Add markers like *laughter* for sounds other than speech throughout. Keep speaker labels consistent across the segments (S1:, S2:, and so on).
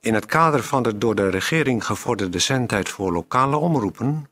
S1: In het kader van de door de regering gevorderde zendtijd voor lokale omroepen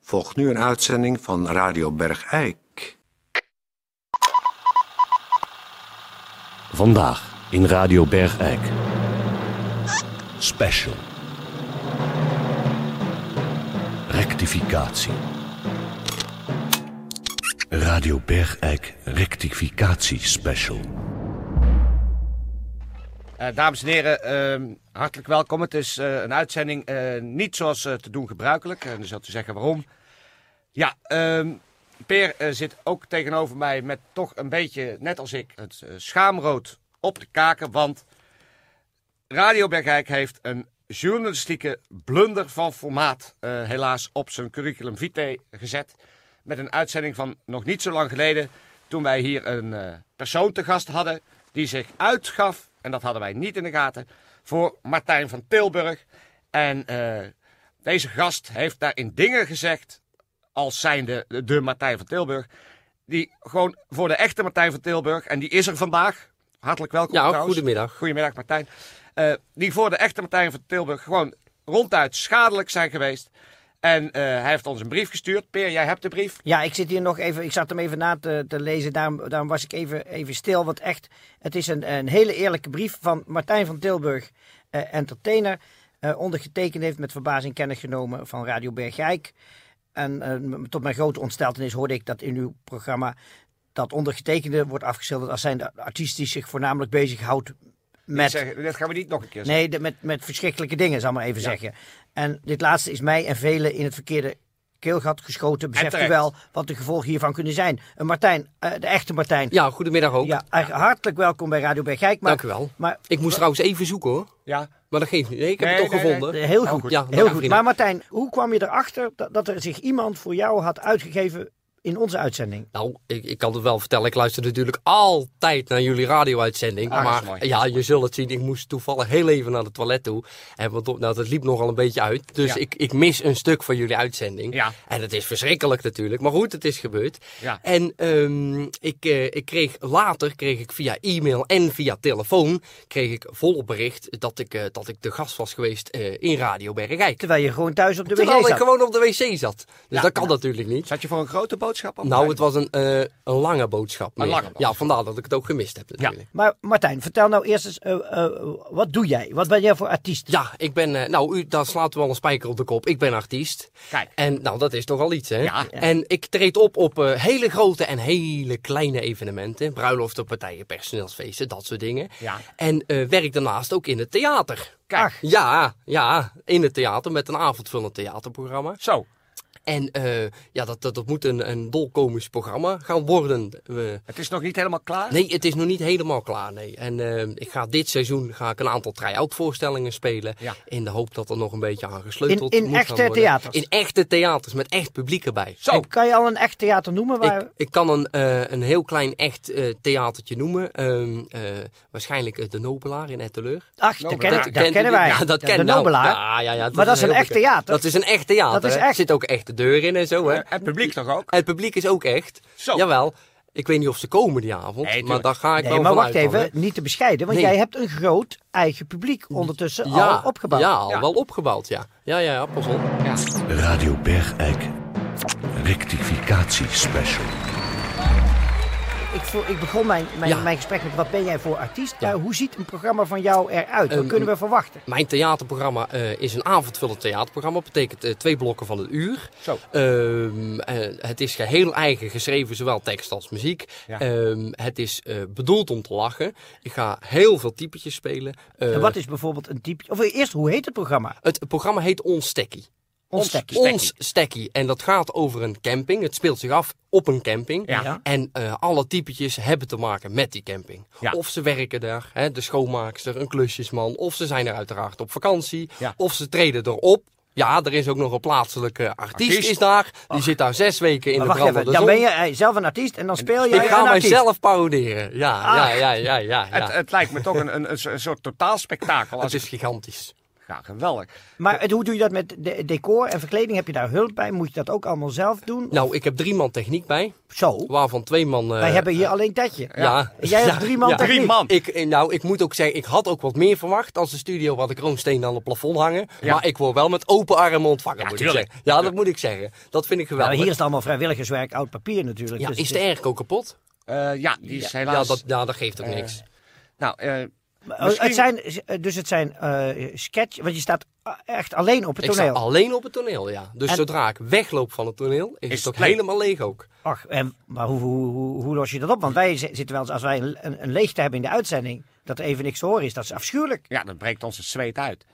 S1: volgt nu een uitzending van Radio Bergijk.
S2: Vandaag in Radio Bergijk. Special. Rectificatie. Radio Bergijk Rectificatie Special.
S3: Eh, dames en heren, ehm, hartelijk welkom. Het is eh, een uitzending eh, niet zoals eh, te doen gebruikelijk. En dan zult u zeggen waarom. Ja, ehm Peer eh, zit ook tegenover mij met toch een beetje, net als ik, het eh, schaamrood op de kaken. Want Radio Bergijk heeft een journalistieke blunder van formaat eh, helaas op zijn curriculum vitae gezet. Met een uitzending van nog niet zo lang geleden. Toen wij hier een eh, persoon te gast hadden die zich uitgaf, en dat hadden wij niet in de gaten, voor Martijn van Tilburg. En eh, deze gast heeft daarin dingen gezegd als zijnde de, de Martijn van Tilburg. Die gewoon voor de echte Martijn van Tilburg, en die is er vandaag. Hartelijk welkom
S4: Ja,
S3: trouwens.
S4: goedemiddag.
S3: Goedemiddag Martijn. Eh, die voor de echte Martijn van Tilburg gewoon ronduit schadelijk zijn geweest. En eh, hij heeft ons een brief gestuurd. Peer, jij hebt de brief.
S5: Ja, ik zit hier nog even. Ik zat hem even na te, te lezen. Daarom, daarom was ik even, even stil. Want echt, het is een, een hele eerlijke brief van Martijn van Tilburg, eh, entertainer. eh, ondergetekend heeft met verbazing kennis genomen van Radio Bergijk. En eh, m- tot mijn grote ontsteltenis hoorde ik dat in uw programma dat ondergetekende wordt afgeschilderd als zijn de artiest die zich voornamelijk bezighoudt
S3: Ik
S5: met
S3: Zeg, dat gaan we niet nog een keer zeggen.
S5: Nee, de- met, met verschrikkelijke dingen, zal ik maar even zeggen. En dit laatste is mij en velen in het verkeerde keelgat geschoten. Beseft u
S3: terecht.
S5: wel wat de gevolgen hiervan kunnen zijn. Een Martijn, eh, de echte Martijn.
S4: Ja, goedemiddag ook.
S5: Ja, eh, hartelijk welkom bij Radio Bergijk. Maar,
S4: Dank u wel.
S5: Maar,
S4: Ik moest trouwens even zoeken hoor.
S3: Ja.
S4: Maar dat geeft niet. Nee, ik heb
S3: Nee,
S4: het toch
S3: nee, nee.
S4: gevonden.
S5: eh, heel goed.
S4: Nou, Ja,
S5: heel goed.
S4: vrienden.
S5: Maar Martijn, hoe kwam je erachter dat, dat er zich iemand voor jou had uitgegeven in onze uitzending?
S4: Nou, ik, ik kan het wel vertellen. Ik luister natuurlijk altijd naar jullie radio-uitzending.
S3: Ah, dat is
S4: maar
S3: mooi.
S4: ja, je zult het zien. Ik moest toevallig heel even naar het toilet toe. En want op- nou, dat liep nogal een beetje uit. Dus
S3: Ja.
S4: ik, ik mis een stuk van jullie uitzending.
S3: Ja.
S4: En het is verschrikkelijk natuurlijk. Maar goed, het is gebeurd.
S3: Ja.
S4: En ehm, ik, eh, ik kreeg later, kreeg ik via e-mail en via telefoon, kreeg ik volop bericht dat ik, eh, dat ik de gast was geweest eh, in Radio Bergrijk.
S5: Terwijl je gewoon thuis op de
S4: Terwijl
S5: wc
S4: ik
S5: zat.
S4: gewoon op de wc zat. Dus dat kan natuurlijk niet.
S3: Zat je voor een grote boodschap op?
S4: Nou, het was een, eh, een lange boodschap. meer.
S3: lange boodschap.
S4: Ja, vandaar dat ik het ook gemist heb natuurlijk. Ja.
S5: Maar Martijn, vertel nou eerst eens, eh, eh, wat doe jij? Wat ben jij voor artiest?
S4: ik ben, eh, nou, u, daar slaat wel een spijker op de kop. Ik ben artiest.
S3: Kijk.
S4: En nou, dat is toch al iets, hè?
S3: Ja.
S4: En ik treed op op eh, hele grote en hele kleine evenementen. Bruiloften, partijen, personeelsfeesten, dat soort dingen.
S3: Ja.
S4: En eh, werk daarnaast ook in het theater.
S3: Kijk,
S5: Ach.
S4: Ja, ja, in het theater met een avondvullend theaterprogramma.
S3: zo.
S4: En eh, ja, dat, dat, dat moet een, een dolkomisch programma gaan worden. We-
S3: Het is nog niet helemaal klaar.
S4: Nee, het is nog niet helemaal klaar. Nee. En eh, ik ga dit seizoen ga ik een aantal try-out voorstellingen spelen.
S3: Ja.
S4: In de hoop dat er nog een beetje aan gesleuteld
S5: In- in
S4: moet gaan
S5: echte
S4: worden.
S5: theaters?
S4: In echte theaters, met echt publiek erbij.
S3: Zo.
S5: Kan je al een echt theater noemen? Waar...
S4: Ik, ik kan een, eh, een heel klein echt eh, theatertje noemen. Ehm, eh, waarschijnlijk eh, De Nobelaar in Etteleur.
S5: Ach, dat,
S3: Nobelaar.
S5: ken,
S4: Nou, Dat
S5: dat
S4: kent u
S5: kennen
S4: niet.
S5: wij.
S4: Ja, dat
S5: De
S4: kent nou.
S5: Nobelaar.
S4: Ja, ja, ja,
S5: maar dat is een
S4: heel
S5: echt
S4: bekend.
S5: theater.
S4: Dat is een echt theater.
S5: Dat is
S4: hè.
S5: echt.
S4: Er zit ook echt de deur in en zo. Hè.
S3: Eh, Het publiek toch ook?
S4: En het publiek is ook echt.
S3: Zo.
S4: Jawel. Ik weet niet of ze komen die avond.
S3: Nee,
S4: maar
S3: tuurlijk.
S4: daar ga ik
S5: nee,
S4: wel
S5: maar
S4: van
S5: wacht
S4: uit dan,
S5: even,
S4: hè.
S5: niet te bescheiden. Want
S4: Nee.
S5: jij hebt een groot eigen publiek ondertussen al opgebouwd.
S4: Ja, al
S3: Ja.
S4: wel opgebouwd, ja. Ja, ja, ja, pas op.
S3: Ja.
S2: Radio Bergijk Rectificatie Special.
S5: Ik, voel- ik begon mijn, mijn,
S4: Ja.
S5: mijn gesprek met wat ben jij voor artiest? Nou, hoe ziet een programma van jou eruit? Wat
S4: Ehm,
S5: kunnen we verwachten?
S4: Mijn theaterprogramma eh, is een avondvullend theaterprogramma. Dat betekent eh, twee blokken van een uur.
S3: Zo.
S4: Ehm, eh, het is geheel eigen geschreven, zowel tekst als muziek.
S3: Ja.
S4: Ehm, het is eh, bedoeld om te lachen. Ik ga heel veel typetjes spelen. Eh,
S5: en wat is bijvoorbeeld een type... Of eerst, hoe heet het programma?
S4: Het programma heet Ons Stekkie.
S5: Ons Stekkie.
S4: Ons Stekkie. En dat gaat over een camping. Het speelt zich af op een camping.
S3: Ja.
S5: Ja.
S4: En eh, alle typetjes hebben te maken met die camping.
S3: Ja.
S4: Of ze werken daar, hè, de schoonmaakster, een klusjesman. Of ze zijn er uiteraard op vakantie.
S3: Ja.
S4: Of ze treden erop. Ja, er is ook nog een plaatselijke artiest,
S3: Artiest.
S4: is daar. Die zit daar zes weken in
S5: Maar
S4: de
S5: wacht
S4: brandende
S5: even, dan
S4: zon.
S5: ben je eh, zelf een artiest en dan speel je
S4: Ik ga
S5: een artiest. eh,
S4: mijzelf paroderen. Ja, ja, ja, ja, ja. ja.
S3: Het, het lijkt me toch een, een, een soort totaalspektakel. Als
S4: het
S3: ik-
S4: is gigantisch.
S3: Graag en wel.
S5: Maar het, hoe doe je dat met de, decor en verkleding? Heb je daar hulp bij? Moet je dat ook allemaal zelf doen?
S4: Nou, ik heb drie man techniek bij,
S5: Zo.
S4: waarvan twee man... eh,
S5: Wij hebben hier alleen Tetje.
S4: Ja.
S5: En jij hebt
S4: *laughs* Ja,
S5: drie man
S4: ja.
S5: techniek.
S3: Drie man.
S4: Ik, eh, nou, ik moet ook zeggen, ik had ook wat meer verwacht als de studio waar de kroonstenen aan het plafond hangen.
S3: Ja.
S4: Maar ik word wel met open armen ontvangen,
S3: Ja,
S4: moet
S3: tuurlijk.
S4: ik zeggen. Ja, dat moet ik zeggen. Dat vind ik
S5: Nou,
S4: geweldig.
S5: hier is het allemaal vrijwilligerswerk, oud papier natuurlijk.
S4: ja,
S5: dus
S4: is
S5: het
S4: de air ook kapot?
S3: Eh, ja, die is
S4: Ja
S3: helaas... eh,
S4: dat, ja, dat geeft ook
S5: Eh,
S4: niks.
S3: Nou, eh,
S5: Maar, oh,
S3: misschien-
S5: het zijn, dus het zijn eh, sketch, want je staat ah, echt alleen op het
S4: Ik sta
S5: toneel.
S4: alleen op het toneel, ja. Dus
S5: En-
S4: zodra ik wegloop van het toneel, is,
S3: het
S4: het ook
S3: leeg.
S4: helemaal leeg ook.
S5: Ach, en, maar hoe, hoe, hoe, hoe los je dat op? Want wij zi- zitten wel eens, als wij een, een- een leegte hebben in de uitzending, dat er even niks te horen is. Dat is afschuwelijk.
S3: ja, dat breekt ons het zweet uit.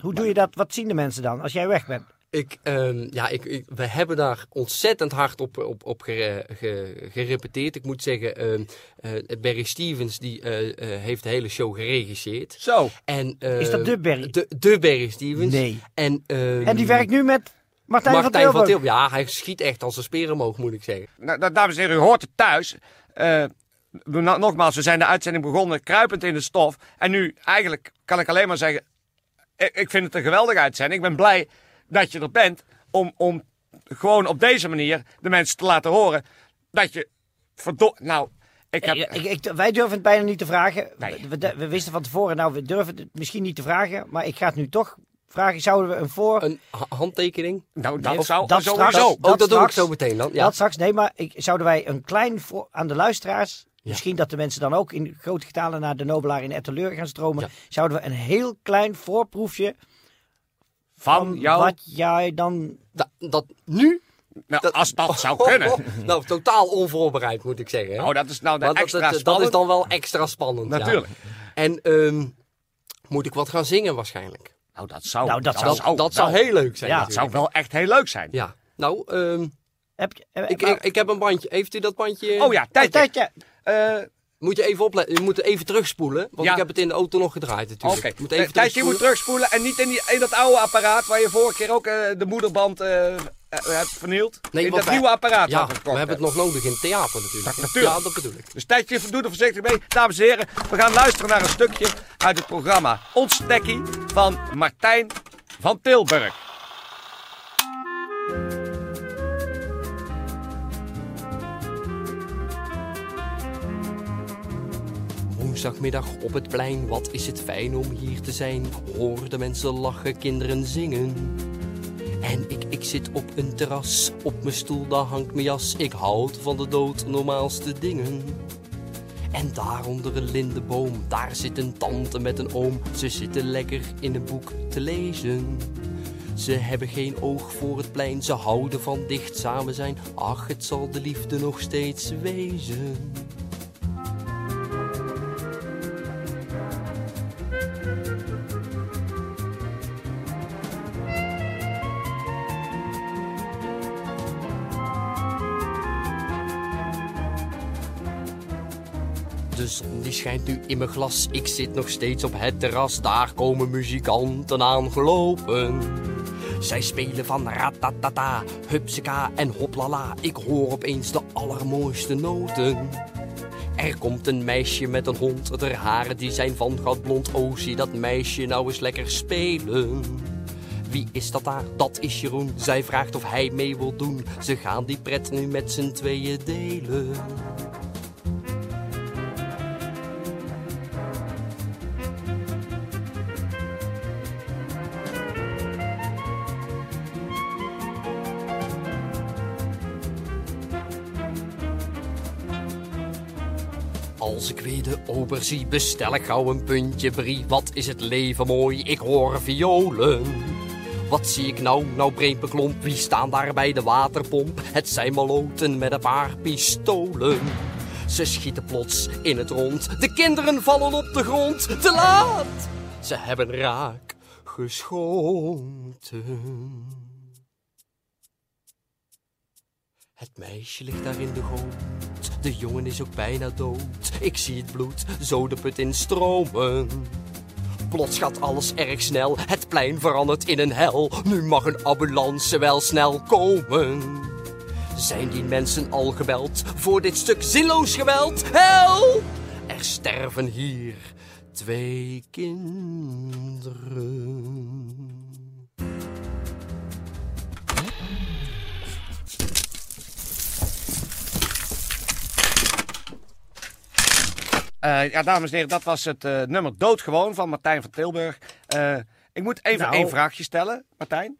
S5: Hoe doe je dat? Wat zien de mensen dan als jij weg bent?
S4: Ik, ehm, ja, ik, ik- we hebben daar ontzettend hard op, op, op gere- ge- gerepeteerd. Ik moet zeggen, ehm, eh, Barry Stevens die, eh, eh, heeft de hele show geregisseerd.
S3: Zo.
S4: En, eh,
S5: Is dat de Barry?
S4: De, de Barry Stevens.
S5: Nee.
S4: En, ehm,
S5: En die werkt nu met Martijn,
S4: Martijn
S5: van Tilburg.
S4: Tilburg. Ja, hij schiet echt als een speer omhoog, moet ik zeggen.
S3: Nou, nou, dames en heren, u hoort het thuis. Eh, we- nou, nogmaals, we zijn de uitzending begonnen kruipend in de stof. En nu, eigenlijk, kan ik alleen maar zeggen... Ik, ik vind het een geweldige uitzending. Ik ben blij dat je er bent om, om gewoon op deze manier de mensen te laten horen... dat je... Verdo nou, ik heb...
S5: Eh, Ik, ik, ik- wij durven het bijna niet te vragen.
S3: Nee.
S5: We, we- we wisten van tevoren, nou, we durven het misschien niet te vragen, maar ik ga het nu toch vragen. Zouden we een voor...
S4: Een ha- handtekening.
S3: nou, dat
S5: Nee,
S3: zou
S5: dat
S3: sowieso...
S5: straks-
S4: oh, dat doe ik
S5: straks-
S4: zo meteen dan. Ja.
S5: Dat straks, nee, maar ik, zouden wij een klein voor, aan de luisteraars, misschien dat de mensen dan ook in grote getalen naar de Nobelaar in Etteleur gaan stromen,
S4: Ja.
S5: zouden we een heel klein voorproefje
S3: van jou...
S5: wat jij dan...
S4: Da- dat nu?
S3: nou,
S4: dat-
S3: als dat
S4: *laughs*
S3: zou kunnen.
S4: nou, totaal onvoorbereid, moet ik zeggen. hè.
S3: Nou, dat is nou de
S4: Maar dat-
S3: extra
S4: dat, dat, is
S3: spannend.
S4: dan wel extra spannend. ja.
S3: Natuurlijk.
S4: En ehm, moet ik wat gaan zingen waarschijnlijk?
S3: Nou, dat zou...
S5: Nou, dat
S4: Dat,
S5: zou-
S4: dat zou
S3: wel-
S4: heel leuk zijn.
S5: Ja,
S3: Dat
S4: natuurlijk.
S3: zou wel echt heel leuk zijn.
S4: Ja. Nou, ehm,
S5: Heb, je- eh,
S4: ik,
S5: maar-
S4: ik, ik heb een bandje. Heeft u dat bandje?
S3: Oh ja,
S5: Tijd,
S3: tijdje.
S5: ja.
S3: Eh,
S4: Moet je even opletten. Je moet even terugspoelen. Want
S3: Ja.
S4: ik heb het in de auto nog gedraaid natuurlijk.
S3: Oké,
S4: Moet
S3: Tijd
S4: even
S3: Tijdje, eh, je moet
S4: terugspoelen.
S3: terugspoelen en niet in, die, in dat oude apparaat waar je vorige keer ook eh, de moederband eh, eh, hebt vernield. in
S4: want
S3: dat
S4: wij-
S3: nieuwe apparaat.
S4: Ja,
S3: wat
S4: we
S3: gekocht
S4: hebben het
S3: hebben.
S4: nog nodig in het theater natuurlijk.
S3: natuurlijk.
S4: Ja, dat bedoel ik.
S3: Dus tijdje, doe er voorzichtig mee. Dames en heren, we gaan luisteren naar een stukje uit het programma Ontstekkie van Martijn van Tilburg.
S4: Woensdagmiddag op het plein, wat is het fijn om hier te zijn. Hoor de mensen lachen, kinderen zingen. En ik, ik zit op een terras, op mijn stoel, daar hangt mijn jas. Ik houd van de dood, normaalste dingen. En daar onder een lindeboom, daar zit een tante met een oom. Ze zitten lekker in een boek te lezen. Ze hebben geen oog voor het plein, ze houden van dicht samen zijn. Ach, het zal de liefde nog steeds wezen. De zon Dus die schijnt nu in mijn glas. Ik zit nog steeds op het terras. Daar komen muzikanten aangelopen. Zij spelen van ratatata, hupsika en hoplala. Ik hoor opeens de allermooiste noten. Er komt een meisje met een hond. De haren die zijn van goudblond. Oh, zie dat meisje nou eens lekker spelen. Wie is dat daar? Dat is Jeroen. Zij vraagt of hij mee wil doen. Ze gaan die pret nu met z'n tweeën delen. Als ik weer de ober zie, bestel ik gauw een puntje brie. Wat is het leven mooi, ik hoor violen. Wat zie ik nou, nou klomp, wie staan daar bij de waterpomp? Het zijn maloten met een paar pistolen. Ze schieten plots in het rond, de kinderen vallen op de grond, te laat! Ze hebben raak geschoten. Het meisje ligt daar in de goot. De jongen is ook bijna dood. Ik zie het bloed zo de put in stromen. Plots gaat alles erg snel. Het plein verandert in een hel. Nu mag een ambulance wel snel komen. Zijn die mensen al gebeld voor dit stuk zinloos geweld? Help! Er sterven hier twee kinderen.
S3: Eh, ja, dames en heren, dat was het eh, nummer Doodgewoon van Martijn van Tilburg. Eh, ik moet even
S5: Nou.
S3: één vraagje stellen, Martijn.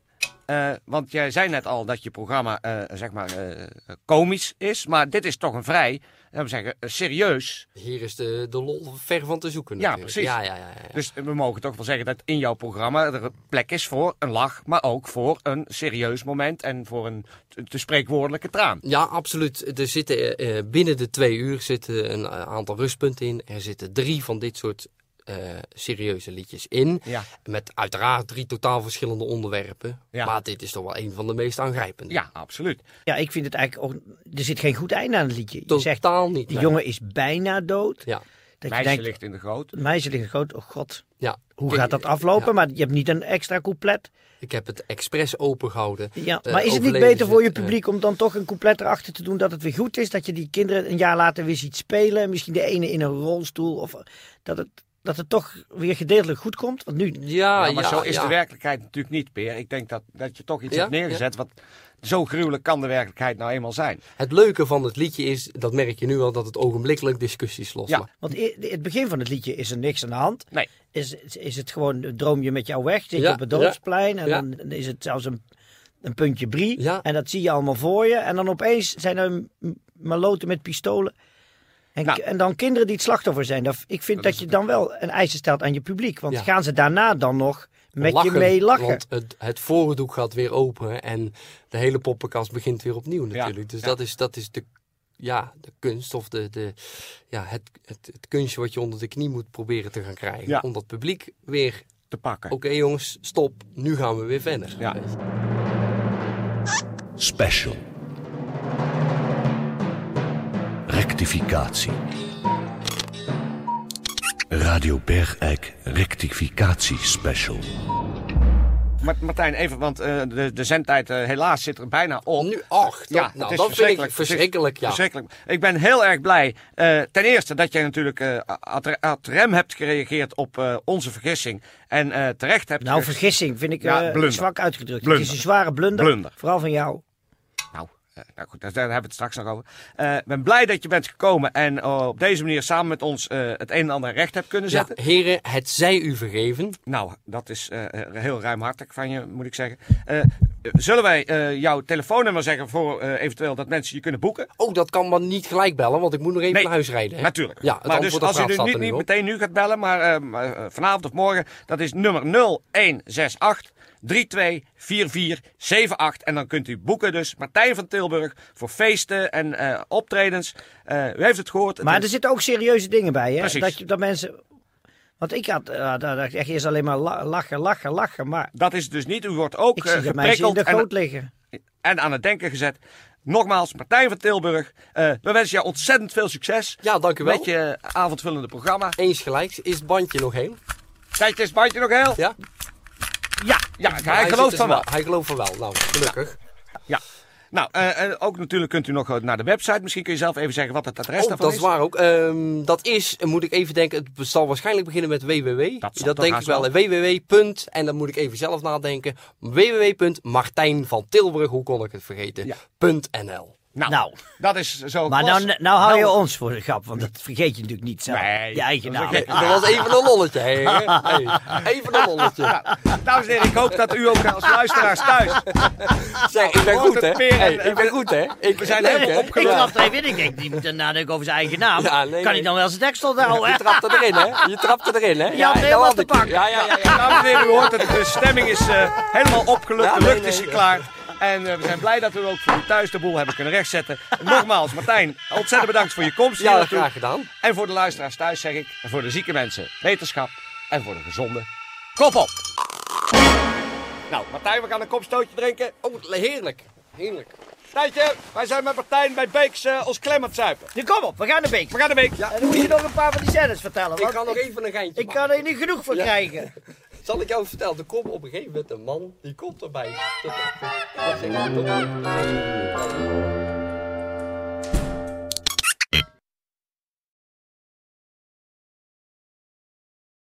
S3: Eh, want jij zei net al dat je programma eh, zeg maar eh, komisch is. Maar dit is toch een vrij, laten we zeggen, eh, serieus.
S4: Hier is de, de lol ver van te zoeken.
S3: Ja,
S4: natuurlijk.
S3: precies.
S4: Ja, ja, ja, ja.
S3: Dus we mogen toch wel zeggen dat in jouw programma er een plek is voor een lach. Maar ook voor een serieus moment en voor een te- te spreekwoordelijke traan.
S4: Ja, absoluut. Er zitten eh, eh, binnen de twee uur zitten een eh, aantal rustpunten in. Er zitten drie van dit soort eh, serieuze liedjes in.
S3: Ja.
S4: Met uiteraard drie totaal verschillende onderwerpen.
S3: Ja.
S4: Maar dit is toch wel een van de meest aangrijpende.
S3: Ja, absoluut.
S5: Ja, ik vind het eigenlijk ook... Er zit geen goed einde aan het liedje. Je zegt,
S4: Totaal niet.
S5: die
S4: nee.
S5: jongen is bijna dood.
S4: Ja,
S5: Dat je
S3: Meisje
S5: denkt,
S3: ligt in de goot.
S5: het meisje ligt groot. Oh god,
S4: ja.
S5: hoe
S4: Ik-
S5: gaat dat aflopen?
S4: ja,
S5: Maar je hebt niet een extra couplet.
S4: ik heb het expres opengehouden.
S5: Ja.
S4: Eh,
S5: maar is het niet
S4: overleden
S5: beter voor je
S4: zit, eh,
S5: publiek om dan toch een couplet erachter te doen dat het weer goed is? Dat je die kinderen een jaar later weer ziet spelen. Misschien de ene in een rolstoel. Of eh, dat het, dat het toch weer gedeeltelijk goed komt? Want nu...
S4: Eh, Ja,
S3: ja, maar
S4: ja,
S3: zo is
S4: ja.
S3: de werkelijkheid natuurlijk niet, Peer. Ik denk dat, dat je toch iets
S4: Ja,
S3: hebt neergezet. Wat zo gruwelijk kan de werkelijkheid nou eenmaal zijn.
S4: Het leuke van het liedje is, dat merk je nu al, dat het ogenblikkelijk discussies loslaat.
S3: Ja.
S5: Want i- het begin van het liedje is er niks aan de hand.
S3: Nee.
S5: Is, is het gewoon een droomje met jou weg? Zit je
S4: Ja,
S5: op het dorpsplein en
S4: ja.
S5: dan is het zelfs een, een puntje brie.
S4: Ja.
S5: En dat zie je allemaal voor je. En dan opeens zijn er m- maloten met pistolen. En,
S3: Nou.
S5: ki- en dan kinderen die het slachtoffer zijn. Dat, ik vind dat, je dan wel een eisen stelt aan je publiek. Want
S4: Ja.
S5: gaan ze daarna dan nog met je mee lachen?
S4: Want het, het voordoek gaat weer open en de hele poppenkast begint weer opnieuw natuurlijk. dus
S3: ja.
S4: dat is, dat is de, ja, de kunst of de, de, ja, het, het, het kunstje wat je onder de knie moet proberen te gaan krijgen.
S3: Ja.
S4: Om dat publiek weer,
S3: Te pakken.
S4: oké jongens, stop, nu gaan we weer verder.
S3: Ja.
S4: Weet je.
S2: Special. Rectificatie. Radio Bergijk Rectificatie Special.
S3: Maar Martijn, even, want eh, de, de zendtijd eh, helaas zit er bijna op.
S4: Oh, Nu, ach, dat,
S3: Ja, het
S4: nou,
S3: is
S4: dat vind ik
S3: verschrikkelijk.
S4: verschrikkelijk, ja.
S3: Verschrikkelijk. Ik ben heel erg blij. eh, ten eerste dat jij natuurlijk eh, ad, ad rem hebt gereageerd op eh, onze vergissing. En eh, terecht hebt
S5: nou,
S3: ge-
S5: vergissing vind ik
S3: Ja,
S5: eh,
S3: blunder.
S5: zwak uitgedrukt.
S3: Blunder.
S5: Het is een zware blunder.
S3: Blunder.
S5: Vooral van jou.
S3: Nou, eh, nou goed, daar, daar hebben we het straks nog over. Eh, Ik ben blij dat je bent gekomen en eh, op deze manier samen met ons eh, het een en ander recht hebt kunnen
S4: Ja,
S3: zetten.
S4: heren, het zij u vergeven.
S3: Nou, dat is eh, eh, heel ruimhartig van je, moet ik zeggen. Eh, zullen wij eh, jouw telefoonnummer zeggen voor eh, eventueel dat mensen je kunnen boeken?
S4: Oh, dat kan maar niet gelijk bellen, want ik moet nog even naar huis rijden. hè?
S3: Natuurlijk.
S4: Ja, het
S3: maar
S4: antwoord
S3: dus
S4: op
S3: als u
S4: vraag
S3: nu
S4: staat er
S3: niet, niet
S4: op.
S3: meteen nu gaat bellen, maar eh, maar, eh, vanavond of morgen, dat is nummer 0168 324478. En dan kunt u boeken dus Martijn van Tilburg voor feesten en eh, optredens. Eh, u heeft het gehoord. Het
S5: Maar
S3: is-
S5: er zitten ook serieuze dingen bij, hè?
S3: Precies.
S5: Dat, je, dat mensen. Want ik had, eh, daar dacht ik echt eerst alleen maar la- lachen, lachen, lachen. Maar
S3: Dat is het dus niet. U wordt ook
S5: ik
S3: eh,
S5: zie dat meisje in
S3: geprikkeld
S5: de goot
S3: en,
S5: liggen.
S3: en aan het denken gezet. Nogmaals, Martijn van Tilburg, eh, we wensen jou ontzettend veel succes.
S4: Ja, dank u wel.
S3: Met je eh, avondvullende programma.
S4: Eens gelijks, is het bandje nog heen?
S3: Kijk, is bandje nog heel?
S4: Ja?
S3: ja, ja, hij
S4: zit
S3: gelooft
S4: dus
S3: van wel.
S4: Hij gelooft van wel, nou, gelukkig.
S3: Ja. Nou, eh, eh, ook natuurlijk kunt u nog eh, naar de website. Misschien kun je zelf even zeggen wat het adres
S4: Oh,
S3: daarvan
S4: dat is waar ook. Ehm, dat is, eh, moet ik even denken, het zal waarschijnlijk beginnen met www.
S3: Dat zal toch
S4: denk ik
S3: haast
S4: wel.
S3: wel.
S4: www. punt, En dan moet ik even zelf nadenken. www.martijnvantilburg, hoe kon ik het vergeten?
S3: Ja.
S4: Punt .nl.
S3: Nou,
S5: Nou.
S3: dat is zo
S5: Maar
S3: gepast.
S5: nou, nou hou je ons voor de grap, want dat vergeet je natuurlijk niet zelf.
S3: Nee.
S5: je eigen naam.
S3: Dat is
S4: Dat was even een lolletje, hè? Hey, even een lolletje.
S3: Dames en heren, ik hoop dat u ook als luisteraars
S4: *laughs*
S3: thuis...
S4: Zeg, ik ben
S3: Wordt
S4: goed,
S3: het
S4: hè?
S3: weer een-
S4: Hey, ik ben goed, hè? Ik,
S3: We zijn
S4: leuk,
S3: helemaal
S4: hè?
S5: *laughs* Ik
S3: opgelucht.
S4: Ja.
S5: dacht even in, ik denk, die moet een nadenken over zijn eigen naam.
S4: Ja, nee,
S5: kan
S4: nee.
S5: hij dan wel zijn tekst
S4: Je
S5: onthouden?
S4: trapte erin, hè? Je trapte erin, hè?
S5: had
S4: dat
S5: helemaal
S4: had
S5: te
S4: ik.
S5: pakken.
S4: Ja, ja, ja. ja.
S3: Dames en heren, u hoort het. De stemming is eh, helemaal opgelucht.
S4: Ja,
S3: de
S4: nee,
S3: lucht is
S4: nee.
S3: geklaard. En eh, we zijn blij dat we ook voor u thuis de boel hebben kunnen rechtzetten. Nogmaals, Martijn, ontzettend bedankt voor je komst hier
S4: Ja,
S3: naartoe.
S4: graag gedaan.
S3: En voor de luisteraars thuis zeg ik, en voor de zieke mensen, wetenschap. En voor de gezonde, kop op. Nou, Martijn, we gaan een kopstootje drinken.
S4: Oh, heerlijk. Heerlijk.
S3: Tijdje, wij zijn met Martijn bij Beeks eh, ons klem aan het zuipen.
S5: Ja, kom op, we gaan naar Beek.
S3: We gaan naar Beek.
S5: En dan moet je nog een paar van die scènes vertellen.
S4: Ik
S5: Want
S4: kan nog even een geintje
S5: ik kan er niet genoeg van
S4: Ja.
S5: krijgen.
S4: Zal ik jou vertellen, er komt op een gegeven moment een man, die komt erbij. Dat- dat- dat- dat- dat- dat- dat- dat- dat- dat-